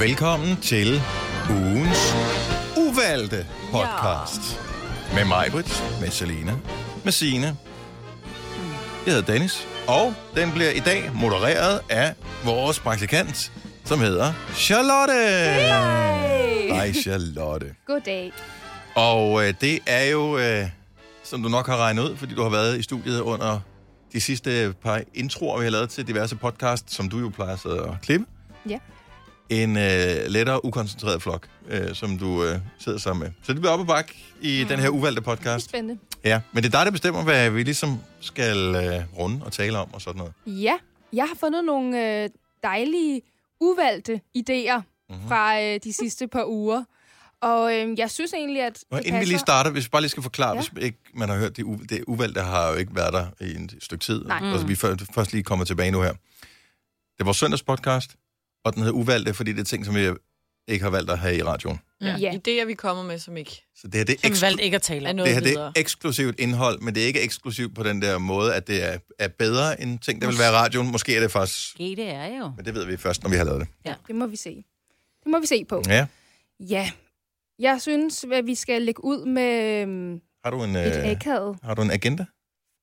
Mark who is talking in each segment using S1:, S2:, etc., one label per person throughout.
S1: velkommen til ugens uvalgte podcast. Ja. Med mig, Britt, med Selina, med Sine. Jeg hedder Dennis, og den bliver i dag modereret af vores praktikant, som hedder Charlotte. Hey! Hej, Charlotte.
S2: Goddag.
S1: Og øh, det er jo, øh, som du nok har regnet ud, fordi du har været i studiet under de sidste øh, par introer, vi har lavet til diverse podcasts, som du jo plejer at sidde og klippe.
S2: Ja.
S1: En øh, lettere ukoncentreret flok, øh, som du øh, sidder sammen med. Så det bliver op og bak i mm. den her uvalgte
S2: Det er
S1: podcast.
S2: spændende.
S1: Ja, men det er dig, der bestemmer, hvad vi ligesom skal øh, runde og tale om og sådan noget.
S2: Ja, jeg har fundet nogle øh, dejlige, uvalgte idéer
S1: Mhm.
S2: mm-hmm. fra øh, de sidste par uger. Og øh, jeg synes egentlig, at...
S1: Og
S2: det
S1: inden vi lige
S2: passer-
S1: starter, hvis vi bare lige skal forklare, ja.
S2: Ja.
S1: hvis ikke man har hørt, det, u- det uvalgte har jo ikke været der i en- et stykke tid.
S2: Nej. Mm.
S1: Og så vi før- først lige kommer tilbage nu her. Det var søndags podcast, og den hedder uvalgte, fordi det er ting, som vi ikke har valgt at have i radioen.
S3: Ja.
S2: Ja.
S3: Idéer, vi kommer med, som ikke
S1: Så det her, det er,
S4: Som
S1: eksklu-
S4: valgte ikke at tale
S3: er
S4: om.
S3: noget
S1: det her det er
S3: videre.
S1: eksklusivt indhold, men det er ikke eksklusivt på den der måde, at det er, er bedre end ting, der vil være i radioen. Måske er det faktisk,
S4: Måske det er jo.
S1: men det ved vi først, når vi har lavet det.
S2: Det må vi se. Det må vi se på.
S1: Ja.
S2: Ja. Jeg synes, at vi skal lægge ud med øh,
S1: Har du en,
S2: et
S1: øh,
S2: akavet
S1: har du en agenda?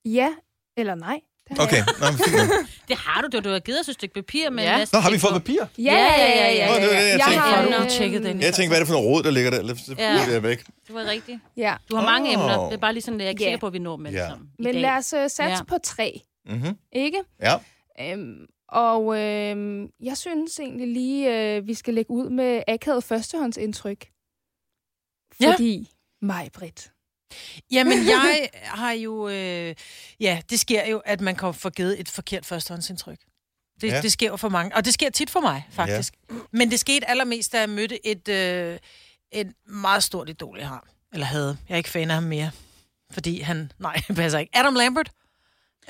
S2: ja eller nej. Det har
S1: Okay,
S2: jeg.
S1: Nå, men fint. nok.
S4: Det har du, det var- du har givet os et stykke papir med
S3: Ja.
S4: en masse
S1: Nå, har vi
S4: ting
S1: fået
S4: på.
S1: papir?
S2: Ja, ja, ja, ja.
S4: Nå,
S2: ja,
S1: det var det, jeg tænkte.
S2: ja.
S4: Jeg får nok tjekket den.
S1: Jeg tænkte, hvad er det for noget råd, der ligger der? Lad os
S4: Ja.
S1: ja. væk.
S4: Det var rigtigt.
S2: Ja.
S4: Du har mange
S1: Åh.
S4: emner. Det er bare lige sådan, at jeg ikke
S2: Ja.
S4: yeah. sikker på, at vi når dem alle
S1: Ja.
S4: sammen. i
S2: Men
S4: dag.
S2: lad os øh, satse
S4: Ja.
S2: på tre,
S1: Mm-hmm.
S2: ikke?
S1: Ja.
S2: Øhm, og øhm, jeg synes egentlig lige, øh, vi skal lægge ud med akavet førstehåndsindtryk.
S4: Ja.
S2: Fordi mig, Britt.
S5: Jamen, jeg har jo... Øh, ja, det sker jo, at man kan få givet et forkert førstehåndsindtryk. Det,
S1: Ja.
S5: ja. det sker jo for mange, og det sker tit for mig, faktisk. Ja. Men det skete allermest, da jeg mødte et, øh, et meget stort idol, jeg har. Eller havde. Jeg er ikke fan af ham mere. Fordi han... Nej, det passer ikke. Adam Lambert.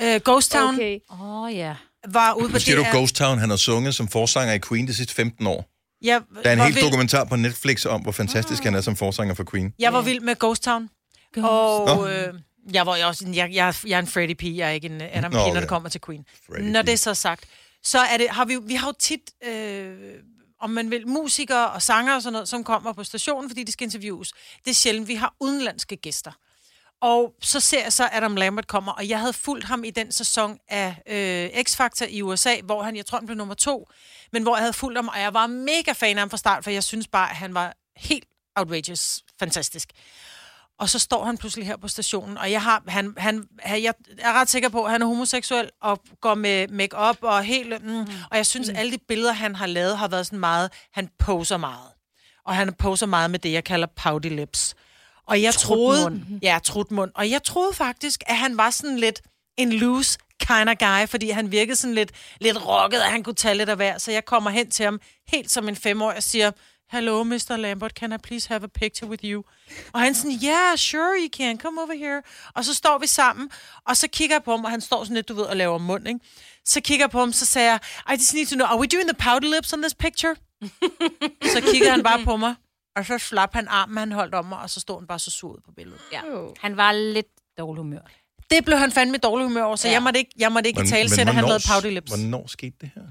S5: Øh, Ghost Town okay.
S2: Okay.
S4: Åh, oh, ja.
S5: var ude på
S1: Nu siger du
S5: DR.
S1: Ghost Town, han har sunget som forsanger i Queen de sidste 15 år.
S5: Jeg,
S1: Der er en
S5: var
S1: hel
S5: vild-
S1: dokumentar på Netflix om, hvor fantastisk han er som forsanger for Queen.
S5: Jeg var vild med Ghost Town.
S4: Ghost.
S5: Og øh, jeg, var, jeg, også, en- jeg, jeg, jeg er en Freddy P. Jeg er ikke en øh, Adam P,
S1: Nå,
S5: når
S1: okay.
S5: det kommer til Queen.
S1: Freddie
S5: Når
S1: P.
S5: det er så sagt, så er det, har vi, jo- vi har jo tit, øh, om man vil, musikere og sanger og sådan noget, som kommer på stationen, fordi de skal interviews. Det er sjældent, vi har udenlandske gæster. Og så ser jeg så, at Adam Lambert kommer, og jeg havde fulgt ham i den sæson af øh, X-Factor i USA, hvor han, jeg tror, han blev nummer to, men hvor jeg havde fulgt ham, og jeg var mega fan af ham fra start, for jeg synes bare, at han var helt outrageous fantastisk. Og så står han pludselig her på stationen, og jeg, har, han, han, han, jeg er ret sikker på, at han er homoseksuel og går med makeup og helt... Mm, og jeg synes, alle de billeder, han har lavet, har været sådan meget... Han poser meget. Og han poser meget med det, jeg kalder pouty lips. Og jeg troede... Ja, trutmund. Og jeg troede faktisk, at han var sådan lidt en loose kind of guy, fordi han virkede sådan lidt, lidt rocket, og han kunne tage lidt af hver. Så jeg kommer hen til ham helt som en femårig og siger, Hello, Mr. Lambert, can I please have a picture with you? Og han sådan, yeah, sure you can, come over here. Og så står vi sammen, og så kigger jeg på ham, og han står sådan lidt, du ved, og laver mund, ikke? Så kigger jeg på ham, så sagde jeg, I just need to know, are we doing the powder lips on this picture? så kigger han
S4: Mm.
S5: bare på mig, og så slap han armen, han holdt om mig, og så stod han bare så sur ud på billedet.
S4: ja.
S2: Oh.
S4: Han var lidt dårlig humør.
S5: Det blev han fandme i dårlig humør over, så
S4: Ja.
S5: ja. jeg måtte ikke, jeg måtte ikke talsætte, at han lavede pouty lips.
S1: Hvornår skete det her?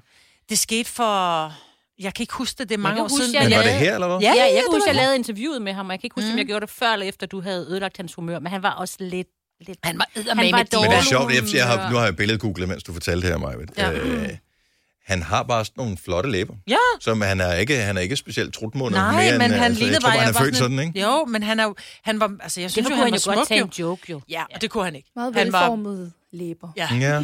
S5: Det skete for... Jeg kan ikke huske det, det er mange
S4: kan
S5: år
S4: huske,
S5: siden.
S4: jeg
S1: Men var det
S4: lavede-
S1: her, eller hvad?
S4: Ja, ja, jeg
S5: det
S4: kan huske,
S5: var
S4: jeg lavede interviewet med ham, og jeg kan ikke huske, mm. om jeg gjorde det før eller efter, du havde ødelagt hans humør, men han var også lidt... lidt han var
S5: med
S4: var
S5: et
S1: Men det er
S4: dårlig
S1: sjovt, jeg, jeg har, nu
S4: humør.
S1: har jeg billedgooglet, mens du fortalte det her, Maja. Ja.
S5: Ja.
S1: Øh, han har bare sådan nogle flotte læber,
S5: Ja.
S1: som han er ikke, han er ikke specielt trutmundet.
S5: Nej,
S1: mere
S5: men
S1: end,
S5: han
S1: altså,
S5: lignede
S1: jeg tror, bare,
S5: jeg
S1: han er
S5: var
S1: født sådan, ikke?
S5: Jo, men han, er, jo- han var... Altså, jeg
S4: Det
S5: synes jo,
S4: kunne
S5: han
S4: han
S5: var
S4: jo godt
S5: smuk,
S4: tage
S5: jo.
S4: en joke, jo.
S5: Ja, og det kunne han ikke.
S2: Meget
S5: Han var-
S2: velformede var... læber.
S5: Ja.
S1: Ja.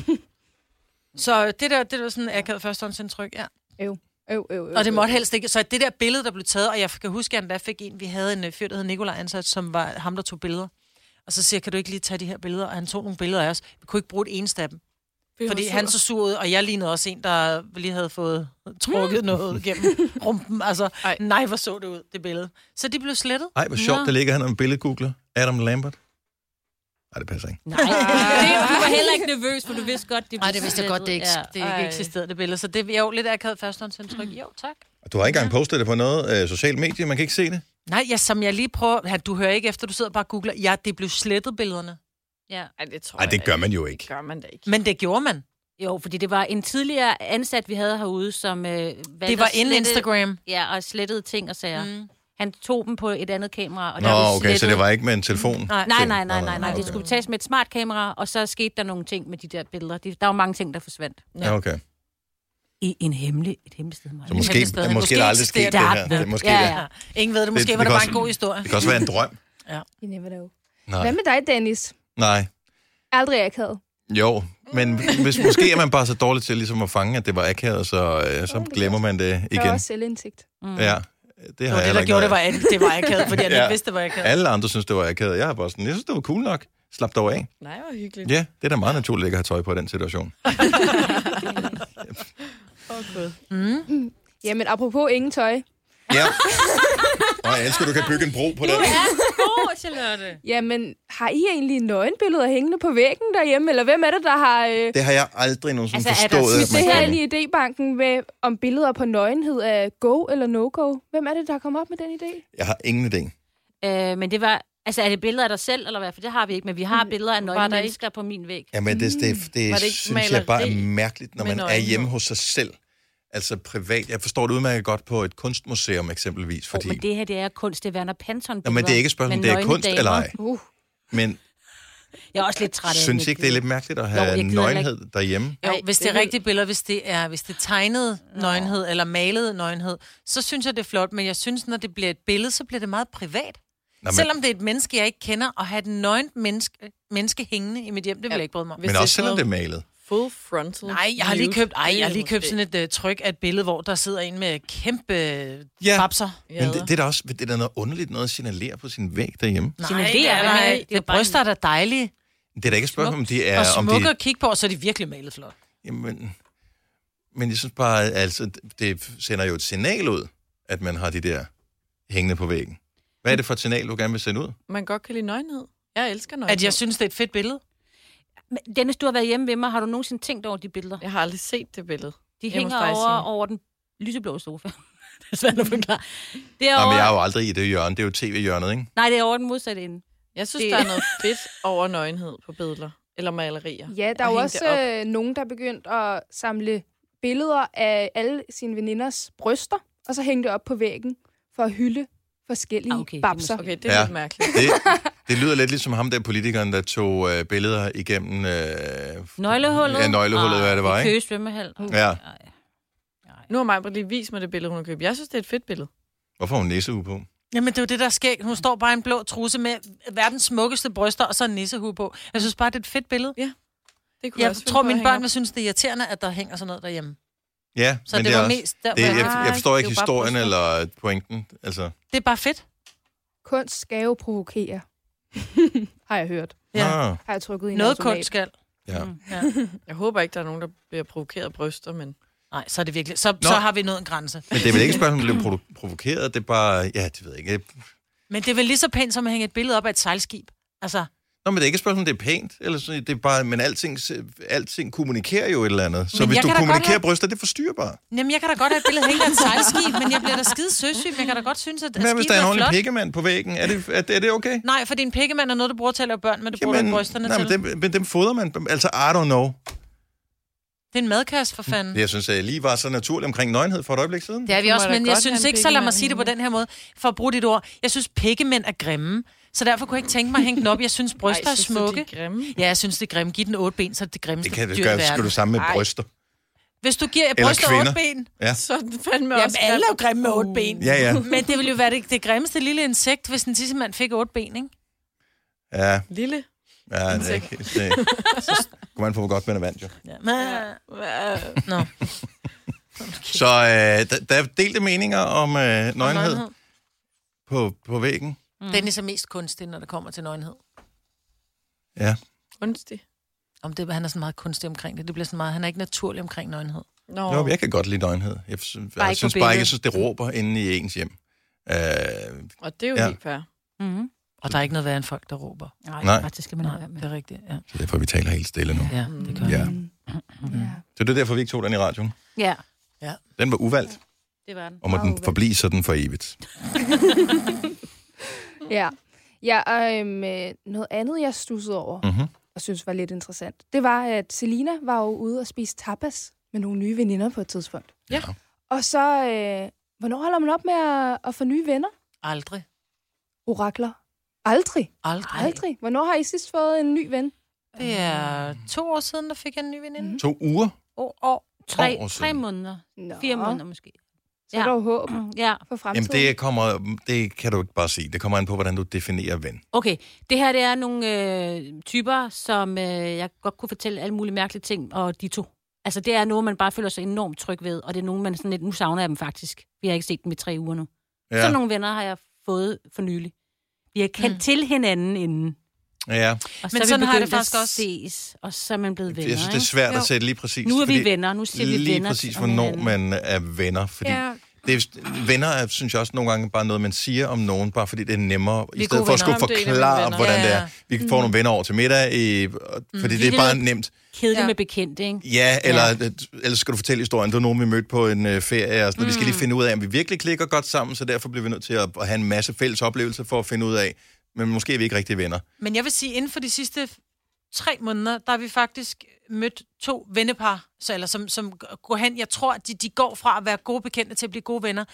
S5: Så det der, det var sådan et akavet førstehåndsindtryk, ja.
S2: Øv, øv, øv,
S5: Og det
S2: øv.
S5: måtte helst ikke. Så det der billede, der blev taget, og jeg kan huske, at jeg endda fik en, vi havde en øh, fyr, der hed Nikolaj ansat, som var ham, der tog billeder. Og så siger jeg, kan du ikke lige tage de her billeder? Og han tog nogle billeder af os. Vi kunne ikke bruge et eneste af dem. Fordi han så sur ud, og jeg lignede også en, der lige havde fået trukket noget gennem rumpen. Altså,
S3: Ej.
S5: nej, hvor så det ud, det billede. Så de blev slettet.
S1: Ej, hvor sjovt,
S4: Nå.
S1: der ligger han om billedgoogler. Adam Lambert. Nej, det passer ikke.
S4: Nej, det, du var heller ikke nervøs, for du vidste godt, det
S5: Nej, det vidste jeg godt, det ikke, ja. Hmm. det
S4: Ej.
S5: ikke eksisterede, det billede. Så det er jo lidt akavet førstehåndsindtryk. Jo, tak.
S1: Og Du har ikke engang postet det på noget øh, socialt medie, man kan ikke se det.
S5: Nej, ja, som jeg lige prøver... Ja, du hører ikke efter, du sidder og bare og googler. Ja, det blev slettet billederne.
S4: Ja.
S3: Ej, det tror
S1: Nej,
S3: jeg
S1: det
S3: da
S1: gør man jo ikke.
S3: Det gør man da ikke.
S5: Men det gjorde man.
S4: Jo, fordi det var en tidligere ansat, vi havde herude, som... Øh,
S5: Det var inden Instagram.
S4: Ja, og slettede ting og sager. Mm. Han tog dem på et andet kamera. Og
S1: Nå,
S4: der blev
S1: okay, så
S4: slettet-
S1: det var ikke med en telefon?
S5: Nej.
S4: Nej,
S1: Ting.
S4: nej, nej, nej, nej.
S1: Okay.
S4: Det skulle tages med et smart kamera, og så skete der nogle ting med de der billeder. De, der var mange ting, der forsvandt.
S1: Ja, okay.
S4: I en hemmelig, et hemmeligt sted. Maja.
S1: Så måske,
S5: det stadig-
S1: måske, måske
S5: måske
S1: er der aldrig sket
S5: eksisterer
S1: det
S4: det.
S1: her.
S4: Der
S1: Det, er
S4: ved-
S1: måske
S4: ja,
S1: det.
S4: ja.
S5: Ingen ved det. Måske
S1: det
S5: det, var det
S1: kan
S5: bare en
S1: også-
S5: god historie.
S1: det kan også være en drøm.
S2: You never know. Hvad
S1: Nej.
S2: med dig, Dennis?
S1: nej.
S2: Aldrig akavet.
S1: Jo, men hvis måske er man bare så dårlig til ligesom at fange, at det var akavet, så, øh, så glemmer man det
S2: Der er
S1: igen.
S2: også selvindsigt.
S1: Ja, det
S5: Det
S1: har
S5: var
S1: jeg
S5: det,
S1: heller
S5: der
S1: ikke
S5: gjorde,
S1: noget
S5: det var,
S1: af.
S5: at det var akavet, fordi han
S1: Ja.
S5: ikke vidste, det var akavet.
S1: Alle andre synes, det var akavet. Jeg har bare sådan, jeg synes, det var cool nok. Slap dog af.
S3: Nej, hvor hyggeligt.
S1: Ja, det er da meget naturligt ikke at have tøj på i den situation.
S3: Okay.
S2: Mm. Jamen, apropos ingen tøj.
S1: Ja. Og jeg elsker, at du kan bygge en bro på det.
S4: god, Charlotte.
S2: Jamen, har I egentlig nøgenbilleder hængende på væggen derhjemme? Eller hvem er det, der har øh,
S1: Det har jeg aldrig nogensinde
S4: Altså, er der
S1: forstået.
S4: tit
S1: at man
S2: det her
S1: kan.
S2: ind i idébanken med, om billeder på nøgenhed er go eller no-go? Hvem er det, der kommer op med den idé?
S1: Jeg har ingen idé.
S4: Øh, men det var... Altså, er det billeder af dig selv, eller hvad? For det har vi ikke, men vi har billeder af nøgne
S3: der ikke-
S4: mennesker på min væg.
S1: Jamen, det, det, det,
S3: Var
S1: det
S3: det ikke
S1: synes jeg bare er
S3: maleri
S1: mærkeligt, når
S3: med
S1: man er
S3: nøglen på?
S1: hjemme hos sig selv. Altså privat. Jeg forstår det udmærket godt på et kunstmuseum eksempelvis, fordi...
S4: Fordi... men det her, det er kunst. Det er Werner Panton.
S1: Nå, men det er ikke et spørgsmål, om det er kunst eller ej.
S2: Uh,
S1: Men
S4: Jeg er også lidt træt af
S1: synes I
S4: mit
S1: ikke, det er lidt mærkeligt at have
S4: jeg gider
S1: nøgenhed derhjemme?
S5: Jo,
S4: Nej,
S5: hvis det
S4: det
S5: er
S4: ved-
S5: rigtige billeder, hvis det er, hvis det er tegnet nøgenhed eller malet nøgenhed, så synes jeg, det er flot. Men jeg synes, når det bliver et billede, så bliver det meget privat.
S1: Nå, men,
S5: Selvom det er et menneske, jeg ikke kender, og have et nøgent menneske, menneske hængende i mit hjem, det vil jeg ikke bryde mig om.
S3: Hvis
S1: men
S3: det er
S1: også selvom
S3: sådan
S1: det er malet.
S3: Full frontal.
S5: Nej, jeg har lige
S3: nude,
S5: købt, ej,
S3: det
S5: jeg har
S3: er
S5: lige købt
S3: måske-
S5: sådan et uh, tryk af et billede, hvor der sidder en med kæmpe
S1: Ja.
S5: ja. babser.
S1: Men det, det, er da også det er da noget underligt noget at signalere på sin væg derhjemme.
S5: Nej,
S4: Signalerer
S5: det er,
S4: det
S5: der
S4: ikke.
S5: ikke.
S4: Det er
S5: det
S4: bare en-
S5: bryster, der er dejlige
S1: Det er da ikke et spørgsmål, om de er...
S5: og
S1: om
S5: smukke
S1: de,
S5: at kigge på, og så er de virkelig malet flot.
S1: jamen, men jeg synes bare, altså, det sender jo et signal ud, at man har de der hængende på væggen. Hvad er det for et signal, du gerne vil sende ud?
S3: Man godt kan lide nøgenhed. Jeg elsker nøgenhed.
S5: At jeg synes, det er et fedt billede.
S4: Men Dennis, du har været hjemme ved mig. Har du nogensinde tænkt over de billeder?
S3: Jeg har aldrig set det billede.
S4: De
S3: Jeg
S4: hænger
S3: må faktisk
S4: over,
S3: sige-
S4: over den lyseblå sofa. det er svært at forklare. Det er
S1: Nå, men
S4: over...
S1: jeg er jo aldrig i det hjørne. Det er jo tv-hjørnet, ikke?
S4: Nej, det er over den modsatte ende.
S3: Jeg synes,
S4: Det-
S3: det... der er noget fedt over nøgenhed på billeder. Eller malerier.
S2: ja, der er
S3: Og
S2: jo
S3: hænge
S2: også
S3: det op.
S2: øh, nogen, der er begyndt at samle billeder af alle sine veninders bryster, og så hænge det op på væggen for at hylde forskellige
S4: Ah,
S2: ah,
S4: okay,
S2: okay,
S4: det er
S2: babser.
S4: måske-
S3: Okay, det er
S1: Ja.
S3: ja. lidt mærkeligt.
S1: Det, det lyder lidt ligesom ham der politikeren, der tog øh, billeder igennem... Øh,
S4: Nøglehullet?
S1: Ja, nøglehullet, hvad det var, ikke?
S4: Køge svømmehal.
S1: Ja.
S4: Ej.
S3: Nu har Maja lige vist mig det billede, hun har købt. Jeg synes, det er et fedt billede.
S1: Hvorfor har hun næsehue på?
S5: Jamen, det er jo det, der sker. Hun står bare i en blå trusse med verdens smukkeste bryster, og så en nissehue på. Jeg synes bare, det er et fedt billede.
S3: Det kunne
S5: Jeg
S3: også finde
S5: tror,
S3: på at
S5: mine
S3: hænge
S5: børn
S3: op.
S5: vil synes, det er irriterende, at der hænger sådan noget derhjemme.
S1: Ja,
S5: Så
S1: men
S5: det,
S1: det er
S5: var
S1: også...
S5: mest der,
S1: Det,
S5: hvor
S1: jeg,
S5: jeg,
S1: jeg forstår ikke
S3: det er jo bare
S1: historien
S3: bryster.
S1: eller pointen. Altså,
S5: det er bare fedt.
S2: Kunst skal jo provokere, har jeg hørt.
S1: ja.
S5: Ja. Mm.
S1: Ah,
S2: Har jeg trykket i en
S5: Noget
S2: automat.
S5: kunst skal.
S1: ja.
S3: Jeg håber ikke, der er nogen, der bliver provokeret af bryster, men...
S5: Nej, så er det virkelig. Så, så har vi nået en grænse.
S1: Men det er vel ikke et spørgsmål, om blev provo- provokeret. Det er bare... Ja, det ved jeg ikke.
S5: Men det er vel lige så pænt, som at hænge et billede op af et sejlskib. Altså,
S1: Nå, men det er ikke et spørgsmål, om det er pænt. Eller sådan, det er bare, men alting, se- alting kommunikerer jo et eller andet. Så
S5: Men
S1: men hvis
S5: jeg
S1: du
S5: kan da godt
S1: kommunikerer
S5: have-
S1: have... bryster, det forstyrrer bare.
S5: jamen, jeg kan da godt have et billede hængende af et sejlskib, men jeg bliver da skide søsyg, men jeg kan da godt synes, at, at
S1: Hvad hvis
S5: skibet
S1: der er en
S5: er
S1: ordentlig
S5: flot.
S1: pikkemand på væggen? Er det, er, det- er det okay?
S5: Nej, fordi en pikkemand er noget, du bruger til at lave børn, men du bruger ikke brysterne
S1: nej,
S5: til.
S1: men
S5: Det...
S1: dem, men dem fodrer man. Altså, I don't know.
S5: det er en madkasse, for fanden.
S1: Det, jeg synes, jeg lige var så naturligt omkring nøgenhed for et øjeblik siden.
S5: Det er vi
S3: Du
S5: også,
S3: må da
S5: men jeg
S3: godt
S5: synes
S3: have en
S5: ikke, så lad mig
S3: pikkemand
S5: sige det på den her måde, for at bruge dit ord. Jeg synes, pikkemænd er grimme, så derfor kunne jeg ikke tænke mig at hænge den op. Jeg synes, bryster
S3: Ej,
S5: er
S3: synes du, de
S5: smukke.
S3: grimme.
S5: Ja, jeg synes, det er grimme. Giv den otte ben, så er det det grimmeste
S1: Det kan det
S5: dyr i
S1: gøre, skal
S5: verden.
S1: du sammen med
S3: Ej.
S1: bryster.
S5: Hvis du giver
S1: Eller
S5: bryster
S1: kvinder.
S5: otte ben...
S3: Så er det fandme
S5: Jamen,
S3: også
S5: alle er jo
S3: grimt.
S5: grimme med otte ben.
S1: Ja, ja.
S5: Men det ville jo være det, det grimmeste lille insekt, hvis en tissemand fik otte ben, ikke?
S1: Ja,
S3: Lille.
S1: ja det, er
S3: Insekt.
S1: ikke- det, så kommer man på, hvor godt man er vant, jo.
S5: Ja.
S3: Nå.
S1: Så øh, der, der er delte meninger om øh, nøgenhed
S5: Nøgenhed.
S1: på, på væggen.
S5: Den er så mest kunstig, når det kommer til nøgenhed.
S1: Ja.
S3: Kunstig.
S5: Om det, han er sådan meget kunstig omkring det. Det bliver sådan meget, han er ikke naturlig omkring nøgenhed.
S3: Nå.
S1: Jo, men jeg kan godt lide nøgenhed. Jeg, sy-
S4: Bare
S1: jeg
S4: ikke på
S1: synes bare ikke, jeg
S4: billedet.
S1: synes, det råber inde i ens hjem. Øh,
S3: Og det er jo
S1: Ja.
S3: ja. helt fair.
S4: Mm-hmm.
S5: Og der er ikke noget værre end folk, der råber.
S4: Nej,
S1: Nej.
S4: Nej, det skal man
S5: Nej,
S4: ikke være med.
S5: det er rigtigt. Ja,
S1: så derfor, vi taler helt stille nu.
S5: ja
S3: Mm.
S5: det gør jeg.
S1: Ja.
S2: Mm. Ja.
S1: Så det er derfor, vi ikke tog den i radioen.
S4: Ja,
S1: Den var uvalgt,
S4: det var den.
S1: og må
S2: Meget
S1: den
S2: uvalgt.
S1: forblive sådan for evigt.
S2: Ja. Ja, og øhm, øh, noget andet, jeg stussede over,
S1: Mhm.
S2: og synes var lidt interessant, det var, at Selina var jo ude og spise tapas med nogle nye veninder på et tidspunkt.
S3: Ja.
S2: Og så, øh, hvornår holder man op med at, at få nye venner?
S5: Aldrig.
S2: Orakler? Aldrig.
S5: Aldrig.
S2: Aldrig. Hvornår har I sidst fået en ny ven?
S5: Det er to år siden, der fik jeg en ny veninde.
S4: Mhm.
S5: Mm.
S1: To uger.
S5: Og, og
S1: To år
S4: Tre, tre
S1: siden.
S4: måneder.
S2: Nå.
S4: Fire måneder måske.
S2: Så er der jo håb
S4: Ja,
S2: for
S1: Jamen,
S2: fremtiden.
S1: det, kommer, det kan du ikke bare sige. Det kommer an på, hvordan du definerer ven.
S4: okay. Det her, det er nogle øh, typer, som øh, jeg godt kunne fortælle alle mulige mærkelige ting, og de to. Altså, det er noget, man bare føler sig enormt tryg ved, og det er nogen, man sådan lidt, nu savner jeg dem faktisk. Vi har ikke set dem i tre uger nu. Ja. Sådan nogle venner har jeg fået for nylig. Vi har kendt mm. til hinanden inden.
S1: Ja,
S4: Og
S5: Men
S4: så er
S5: sådan
S4: vi
S5: har jeg det
S4: begyndt
S5: faktisk
S4: at
S5: også.
S4: ses, og så er man blevet venner.
S1: jeg synes, det er svært
S5: Jo.
S1: at sætte lige præcis.
S4: ikke? Nu er vi
S1: fordi-
S4: venner, nu ser vi
S1: Lige
S4: venner.
S1: præcis,
S4: om
S1: hvornår
S4: hinanden.
S1: man er venner. Fordi ja. det, er- venner er, synes jeg også nogle gange bare noget, man siger om nogen, bare fordi det er nemmere,
S5: Vi
S1: i
S5: er
S1: stedet
S5: gode
S1: for at
S5: venner.
S1: skulle
S3: Jamen, det er en
S1: forklare,
S3: af mine venner.
S1: hvordan
S5: Ja,
S1: det
S5: ja.
S1: er. Vi får nogle venner over til middag, øh, og- fordi det
S4: Det
S1: er
S4: er
S1: bare
S4: det-
S1: nemt.
S4: Kedeligt
S5: Ja.
S4: ja. med bekendte, ikke?
S1: Ja, eller ja. ellers skal du fortælle historien. Det var nogen, vi mødte på en øh, ferie, og sådan, mm. vi skal lige finde ud af, om vi virkelig klikker godt sammen, så derfor bliver vi nødt til at, at have en masse fælles oplevelser for at finde ud af, men måske er vi ikke rigtig venner.
S5: Men jeg vil sige, inden for de sidste tre måneder, der har vi faktisk mødt to vennepar, så, eller som, som går hen. Jeg tror, at de, de går fra at være gode bekendte til at blive gode venner.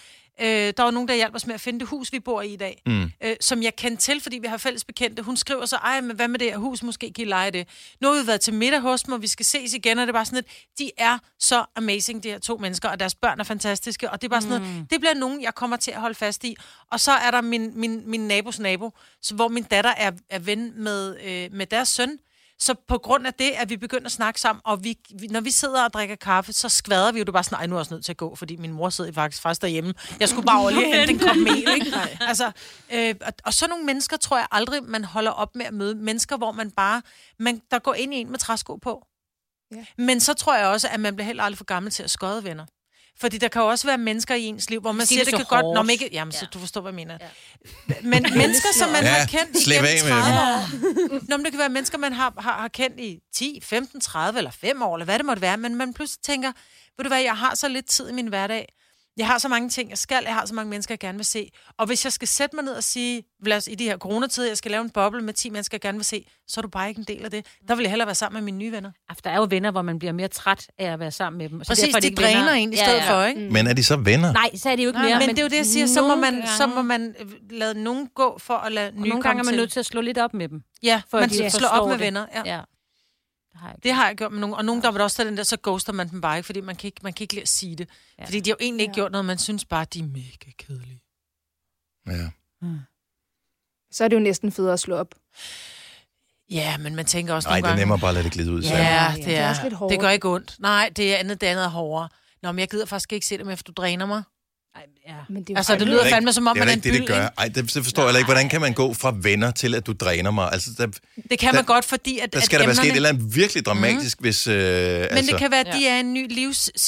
S5: Øh, der var nogen, der hjalp os med at finde det hus, vi bor i i dag, mm. øh, som jeg kendte til, fordi vi har fælles bekendte. Hun skriver så, ej, men hvad med det her hus? Måske kan I lege det. Nu har vi været til middag hos dem, og vi skal ses igen, og det er bare sådan lidt, de er så amazing, de her to mennesker, og deres børn er fantastiske, og det er bare sådan noget, det bliver nogen, jeg kommer til at holde fast i. Og så er der min, min, min nabos nabo, så, hvor min datter er, er ven med, øh, med deres søn, så på grund af det, at vi begynder at snakke sammen, og vi, vi, når vi sidder og drikker kaffe, så skvader vi jo det bare sådan, "Ej, nu er jeg også nødt til at gå, fordi min mor sidder faktisk faktisk derhjemme. Jeg skulle bare over lige og hente en kop mel, ikke? Altså, øh, og, og sådan nogle mennesker tror jeg aldrig, man holder op med at møde. Mennesker, hvor man bare, man, der går ind i en med træsko på.
S2: Ja.
S5: Men så tror jeg også, at man bliver heller aldrig for gammel til at skøde venner. Fordi der kan jo også være mennesker i ens liv, hvor man
S4: Sig
S5: siger,
S4: det
S5: det,
S4: så
S5: kan godt... Nå,
S4: hårdt.
S5: men ikke... Jamen, så
S4: Ja.
S5: du forstår, hvad jeg mener. Men mennesker, som man
S1: Ja,
S5: har kendt
S1: slip
S5: igennem
S1: af med dem.
S5: 30 år. Nå, men det kan være mennesker, man har, har, har kendt i 10, 15, 30 eller 5 år, eller hvad det måtte være, men man pludselig tænker, ved du hvad, jeg har så lidt tid i min hverdag. Jeg har så mange ting, jeg skal. Jeg har så mange mennesker, jeg gerne vil se. Og hvis jeg skal sætte mig ned og sige, lad os i de her coronatider, jeg skal lave en boble med 10 mennesker, jeg gerne vil se, så er du bare ikke en del af det. Der vil jeg hellere være sammen med mine nye venner.
S4: Altså, der er jo venner, hvor man bliver mere træt af at være sammen med dem. Så
S5: Præcis,
S4: derfor er
S5: de
S4: ikke
S5: dræner
S4: venner.
S5: en i stedet for, ikke?
S1: Men er de så venner?
S4: Nej, så er det jo ikke
S5: Nej,
S4: mere.
S5: men det er jo det, jeg siger. Så må
S4: nogle
S5: man,
S4: gange-
S5: så må man øh, lade nogen gå for at lade nye
S4: Nogle gange er man nødt
S5: til.
S4: til at slå lidt op med dem.
S5: Ja,
S4: for
S5: man
S4: at de
S5: skal slå op
S4: forstår
S5: med
S4: det.
S5: venner. Ja.
S4: Ja. Det har jeg ikke.
S5: Det har jeg gjort med nogen. Og nogen, der vil også tage den der, så ghoster man dem bare ikke, fordi man kan ikke, man kan ikke lide at sige det. Ja.
S4: Ja.
S5: Fordi de har jo egentlig ikke
S2: Ja.
S5: gjort noget, man synes bare, de er mega kedelige.
S1: Ja.
S2: Så er det jo næsten federe at slå op.
S5: Ja, men man tænker også
S1: Nej,
S5: nogle
S1: det er
S5: gange...
S1: nemmere bare at lade det glide ud.
S5: Ja,
S1: Ja.
S5: ja,
S2: det
S5: det
S2: er
S5: er.
S2: også lidt
S5: det
S2: hårdt.
S5: gør ikke ondt. Nej, det er andet, det andet er hårdere. Nå, men jeg gider faktisk ikke se dem, efter du dræner mig.
S4: Ej, ja.
S2: Men det er jo
S5: Altså, det
S1: Det er
S5: lyder
S1: da
S5: fandme som om,
S1: det er
S5: man
S1: da
S5: er en
S1: ikke det, det
S5: byld,
S1: gør.
S5: ikke?
S1: Ej, det forstår jeg heller ikke. Hvordan kan man gå fra venner til, at du dræner mig? Altså, der,
S5: Det kan man
S1: Der-
S5: godt, fordi at,
S1: der
S5: at
S1: skal der være sket et
S5: emnerne-
S1: eller andet virkelig dramatisk, mm. hvis... Øh, men
S5: Mhm. Men altså,
S1: altså,
S5: det kan være, at
S3: Ja.
S5: de er i en ny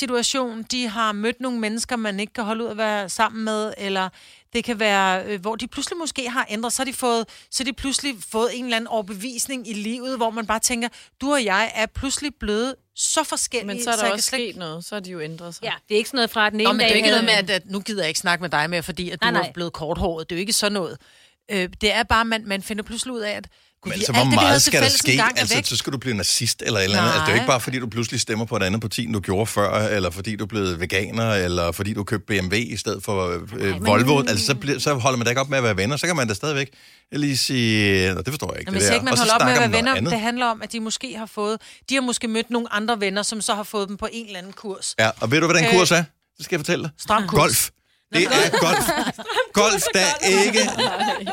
S5: livssituation. De har mødt nogle mennesker, man ikke kan holde ud at være sammen med, eller det kan være, øh, hvor de pludselig måske har ændret, så har de fået, så har de pludselig fået en eller anden overbevisning i livet, hvor man bare tænker, du og jeg er pludselig blevet så forskellige.
S3: Men så er der
S5: jeg kan
S3: også
S5: slet ikke-
S3: sket noget, så er de jo ændret sig.
S4: ja, det er ikke sådan noget fra den ene
S5: Nå, men det er
S4: dag
S5: jo ikke noget
S4: havde-
S5: med,
S3: øh,
S5: at, at nu gider jeg ikke snakke med dig mere, fordi at du
S4: Nej,
S5: nej, nej.
S4: nej.
S5: er blevet korthåret. Det er jo ikke sådan noget. Øh, det er bare, at man, man finder pludselig ud af, at gud,
S1: men
S5: de-
S1: så
S5: alt
S1: hvor
S5: det, vi havde
S1: meget
S5: til
S1: skal der
S5: fælles
S1: ske?
S5: engang er
S1: Altså,
S5: væk.
S1: så skal du blive nazist eller et eller andet. Altså, det er jo ikke
S5: Nej.
S1: bare, fordi du pludselig stemmer på et andet parti, end du gjorde før, eller fordi du er blevet veganer, eller fordi du købte BMW i stedet for øh,
S4: men-
S1: Volvo. Altså, så, bliver, så holder man da ikke op med at være venner. Så kan man da stadigvæk lige sige, Nå, det forstår jeg ikke,
S5: Jamen,
S1: det
S5: jeg
S1: der.
S5: siger ikke, man
S1: Og så
S5: holder op med at
S1: snakker
S5: være
S1: man noget
S5: venner.
S1: andet.
S5: Det handler om, at de måske har fået... De har måske mødt nogle andre venner, som så har fået dem på en eller anden kurs.
S1: Ja, og ved du, hvad den
S5: Øh,
S1: kurs er? Det skal jeg fortælle dig.
S5: Stram kurs.
S1: Golf. Det er golf. Golf, der ikke...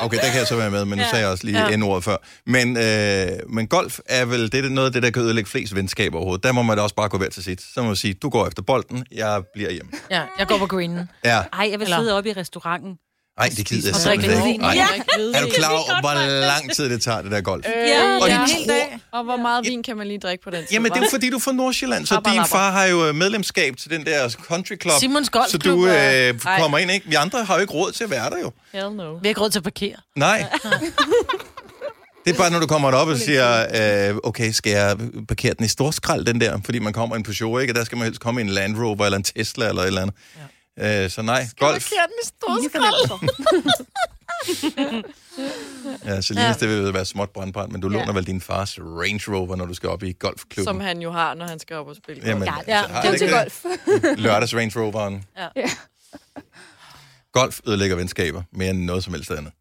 S1: Okay, der kan jeg så være med, men nu sagde jeg også lige ja. N-ordet før. Men, øh, men golf er vel det er noget af det, der kan ødelægge flest venskaber overhovedet. Der må man da også bare gå hver til sit. Så må man sige, du går efter bolden, jeg bliver hjemme.
S5: Ja, jeg går på greenen.
S1: Ja.
S4: Ej, jeg vil
S5: Eller-
S4: sidde oppe i restauranten.
S1: Ej, det gider jeg
S5: Og drikke
S1: simpelthen
S5: hvidvin.
S1: ikke. Ej.
S3: Ja.
S1: Er du klar over, hvor lang tid det tager, det der golf?
S4: Ja,
S1: Og de
S4: ja.
S5: En hel dag.
S3: Øh, Og hvor meget vin kan man lige drikke på den tid?
S1: Jamen, det er
S3: hva'?
S1: jo fordi, du er fra Nordsjælland, så
S3: Abba
S1: din
S3: labba.
S1: far har jo øh, medlemskab til den der country club.
S5: Simons Golfklub
S1: Så du øh,
S3: og-
S1: kommer ind, ikke? Vi andre har jo ikke råd til at være der, jo.
S3: Hell no.
S5: Vi har ikke råd til at parkere.
S1: Nej. Det er bare, når du kommer derop og siger, øh, okay, skal jeg parkere den i storskrald, den der? Fordi man kommer i en Peugeot, ikke? Og der skal man helst komme i en Land Rover eller en Tesla eller et eller andet. Ja. Øh, så nej, golf.
S5: Parkere den i store
S2: Fine fornemmelser.
S1: Ja, Selina, ja. det vil være småt brandbrand, men du
S4: Ja.
S1: låner vel din fars Range Rover, når du skal op i golfklubben.
S3: Som han jo har, når han skal op og spille.
S1: Jamen,
S4: Ja,
S1: altså,
S4: ja.
S1: har
S4: Det
S1: han
S2: Det er
S1: ikke
S2: til
S1: det?
S2: golf.
S1: Lørdags Range Roveren.
S4: Ja.
S2: Ja.
S1: Golf ødelægger venskaber mere end noget som helst andet.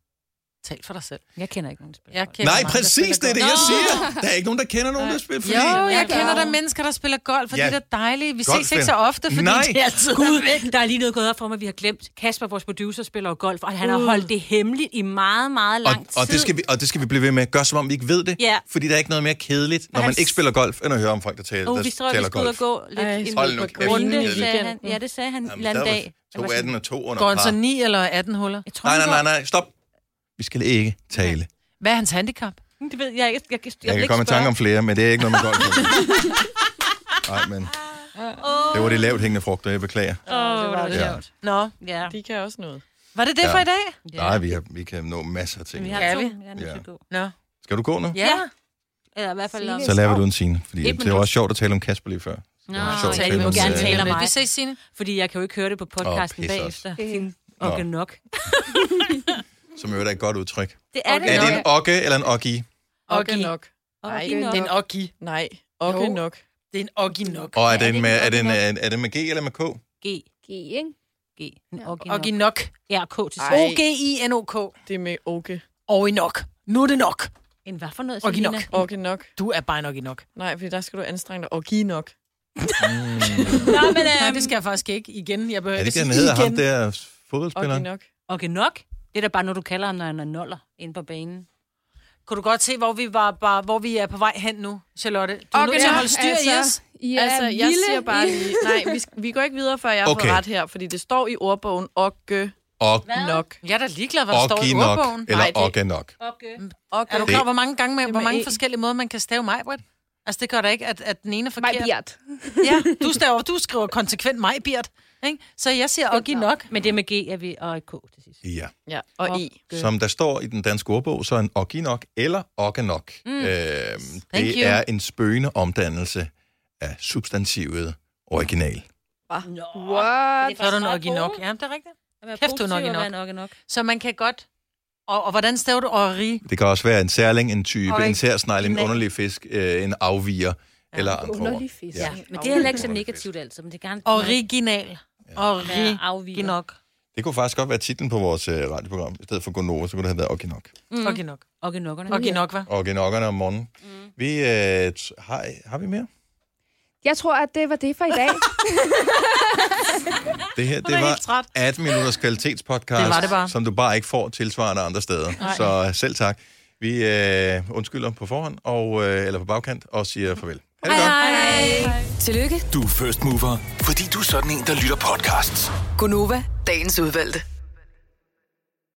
S5: Tal for dig selv.
S4: Jeg kender ikke nogen der spiller.
S5: Jeg
S4: golf.
S5: kender
S1: Nej,
S5: mange, der
S1: præcis, det
S5: spiller
S1: er det,
S5: golf.
S1: jeg
S5: Nå!
S1: siger. Der er ikke nogen, der kender nogen, der spiller. Fordi...
S5: Jo, jeg,
S2: Ja,
S5: jeg
S2: der
S5: kender
S2: er
S5: da
S2: jo-
S5: mennesker, der spiller golf, og
S1: Ja.
S5: ja. det er da dejligt. Vi
S1: Golf,
S5: ses ikke så ofte, fordi
S1: Nej.
S5: det
S4: Det er altid Gud, der er lige noget gået op for mig, vi har glemt. Kasper, vores producer, spiller jo golf, og han har holdt det hemmeligt i meget, meget
S1: Og,
S4: lang tid.
S1: og, det skal vi, og det skal vi blive ved med. Gør som om vi ikke ved det.
S4: Ja.
S1: Fordi der er ikke noget mere kedeligt, når
S2: Og
S1: man
S2: han-
S1: ikke spiller golf, end at høre om folk, der taler,
S4: Oh,
S1: der
S4: vi tror, vi
S1: taler
S4: skulle ud og
S1: golf.
S4: gå lidt
S3: Ej,
S4: en
S1: hold nu kæft, det er
S4: runde, sagde
S3: kedeligt.
S4: han. Ja, det sagde han en
S1: der
S4: eller anden
S1: var
S4: dag. Jeg var
S1: To
S4: sådan,
S1: 18 og to under
S5: går han så
S1: par.
S5: 9 eller 18 huller.
S4: Jeg tror,
S1: Nej, nej, nej,
S4: han
S1: nej, stop. Vi skal ikke tale.
S5: Hvad er hans handicap?
S4: går- Det ved jeg ikke. Jeg, jeg, jeg,
S1: Jeg,
S4: vil
S1: kan
S4: ikke
S1: komme i tanke
S4: spørge.
S1: om flere, men det er ikke noget med golf. Nej, men det var det lavt hængende frugter, jeg beklager.
S4: Åh, det var det
S1: Ja.
S4: sjovt.
S5: Nå,
S4: Ja.
S3: De kan også noget.
S5: var det det
S1: Ja.
S5: ja. for i dag?
S1: Ja. Nej, vi, har, vi kan nå masser af ting.
S4: Vi har
S5: Kan
S4: to.
S5: vi?
S4: Jeg er nødt til at gå.
S5: Nå.
S1: Skal du gå nu?
S5: Ja.
S4: Eller i hvert fald...
S2: Signe.
S1: Så laver du en scene, fordi
S4: Et
S1: det var også sjovt at tale om Kasper lige før.
S4: Nå,
S1: var sjovt at
S4: jeg må
S1: tale om,
S4: gerne
S1: øh,
S4: tale om
S5: Men
S4: mig,
S5: Ah, Vi ses, Signe.
S4: fordi jeg kan jo ikke høre det på podcasten
S1: Åh, pis også.
S4: bagefter.
S2: Øh.
S1: Nå.
S4: Og nok.
S1: Som jo er et godt udtryk.
S4: Det er det
S1: Er det
S4: nok.
S1: en okke eller en okki?
S3: Okke
S5: Oggi.
S3: nok.
S4: Og
S3: Nej,
S4: nok.
S5: Det er en oggi.
S3: Nej, okke
S5: Jo.
S3: nok.
S5: Det er en oggi nok.
S1: Og er
S4: Ja,
S1: det, en
S4: det
S1: med,
S4: er
S1: er, det en,
S4: nok.
S1: er, er det med G eller med K?
S4: G.
S2: G, ikke?
S4: G. En
S2: Ja.
S5: Oggi
S4: orginok.
S5: nok.
S4: Ja, og K til
S3: Ej.
S4: sidst.
S5: O-G-I-N-O-K.
S3: Det er med okke.
S5: Og i nok. Nu er det nok.
S4: En hvad for noget,
S5: Orginok.
S4: Selina?
S3: Okke nok.
S5: Du er bare nok i nok.
S3: Nej, fordi der skal du anstrenge dig. Okke nok.
S4: Nå, men... øhm,
S5: Nej, det skal jeg faktisk ikke igen. Jeg behøver
S1: Er det ikke,
S5: sige
S1: han hedder ham
S5: igen.
S1: der
S3: Okke
S1: fodboldspilleren?
S3: nok.
S4: Orginok. Det er da bare noget, du kalder ham, når han er noller inde på banen.
S5: Kunne du godt se, hvor vi, var, bare, hvor vi er på vej hen nu, Charlotte? Du er
S3: Og
S5: nødt til at holde styr i os.
S2: I
S3: Ja,
S2: er
S3: altså, jeg
S2: vilde
S3: siger bare
S2: i-
S3: lige... Nej, vi, sk- vi går ikke videre, før jeg okay.
S1: Okay.
S3: får ret her, fordi det står i ordbogen okke
S1: Og
S3: nok.
S5: Jeg er da ligeglad, hvad der står
S1: Okki
S5: i
S1: nok,
S5: ordbogen.
S1: eller
S3: Nej, det-
S1: Okke nok.
S4: Okay.
S3: Okke.
S5: Er du
S1: Det-
S5: klar, over, hvor mange gange man, hvor
S3: med
S5: mange
S3: E.
S5: forskellige måder, man kan stave mig, Britt? Altså, det gør da ikke, at, at den ene er
S2: Maj
S5: forkert.
S2: Bjert.
S5: Ja, du, staver, du skriver konsekvent mig, Bjert. Ikke? Så jeg siger Oggi nok.
S4: Men det er med G er vi, og et K til sidst.
S1: Ja.
S3: Ja, og E. i.
S1: Som der står i den danske ordbog, så er en Okke nok eller Okke nok. Mm. Øhm, det
S5: you.
S1: er en spøgende omdannelse af substantivet original.
S4: Nå.
S2: What?
S5: Så er du nok i nok. Ja, det er rigtigt. Kæft, du er nok i nok.
S4: nok. nok.
S5: Så man kan godt... Og, og hvordan staver du Ori?
S1: Det kan også være en særling, en type,
S2: Og
S1: en
S2: en-
S1: særsnegl, en
S4: en-
S1: underlig fisk, øh, en afviger ja, eller andre ord.
S2: Underlig fisk.
S1: Ja.
S2: Ja.
S4: Men det er heller ikke så negativt altid, men det er gerne...
S5: Original.
S4: Ja,
S5: Ori.
S4: afviger.
S5: nok.
S1: Det kunne faktisk godt være titlen på vores øh, radioprogram. I stedet for Gonova, så kunne det have været Okke nok.
S4: Mm.
S5: Oggi nok.
S4: Okay, nokkerne.
S5: Oggi nok, hva'?
S1: Okke nokkerne om morgenen. Mm. Vi, øh, t- har, har vi mere?
S2: Jeg tror, at det var det for i dag.
S1: Det her, det
S5: er
S1: var
S5: helt træt.
S1: 18 minutters kvalitetspodcast,
S5: Det var det bare.
S1: som du bare ikke får tilsvarende andre steder. Nej. Så øh, selv tak. Vi øh, undskylder på forhånd, og, øh, eller på bagkant, og siger farvel. Ha' det godt.
S6: Tillykke,
S7: Du er first mover, fordi du er sådan en, der lytter podcasts.
S6: Gunova, dagens udvalgte.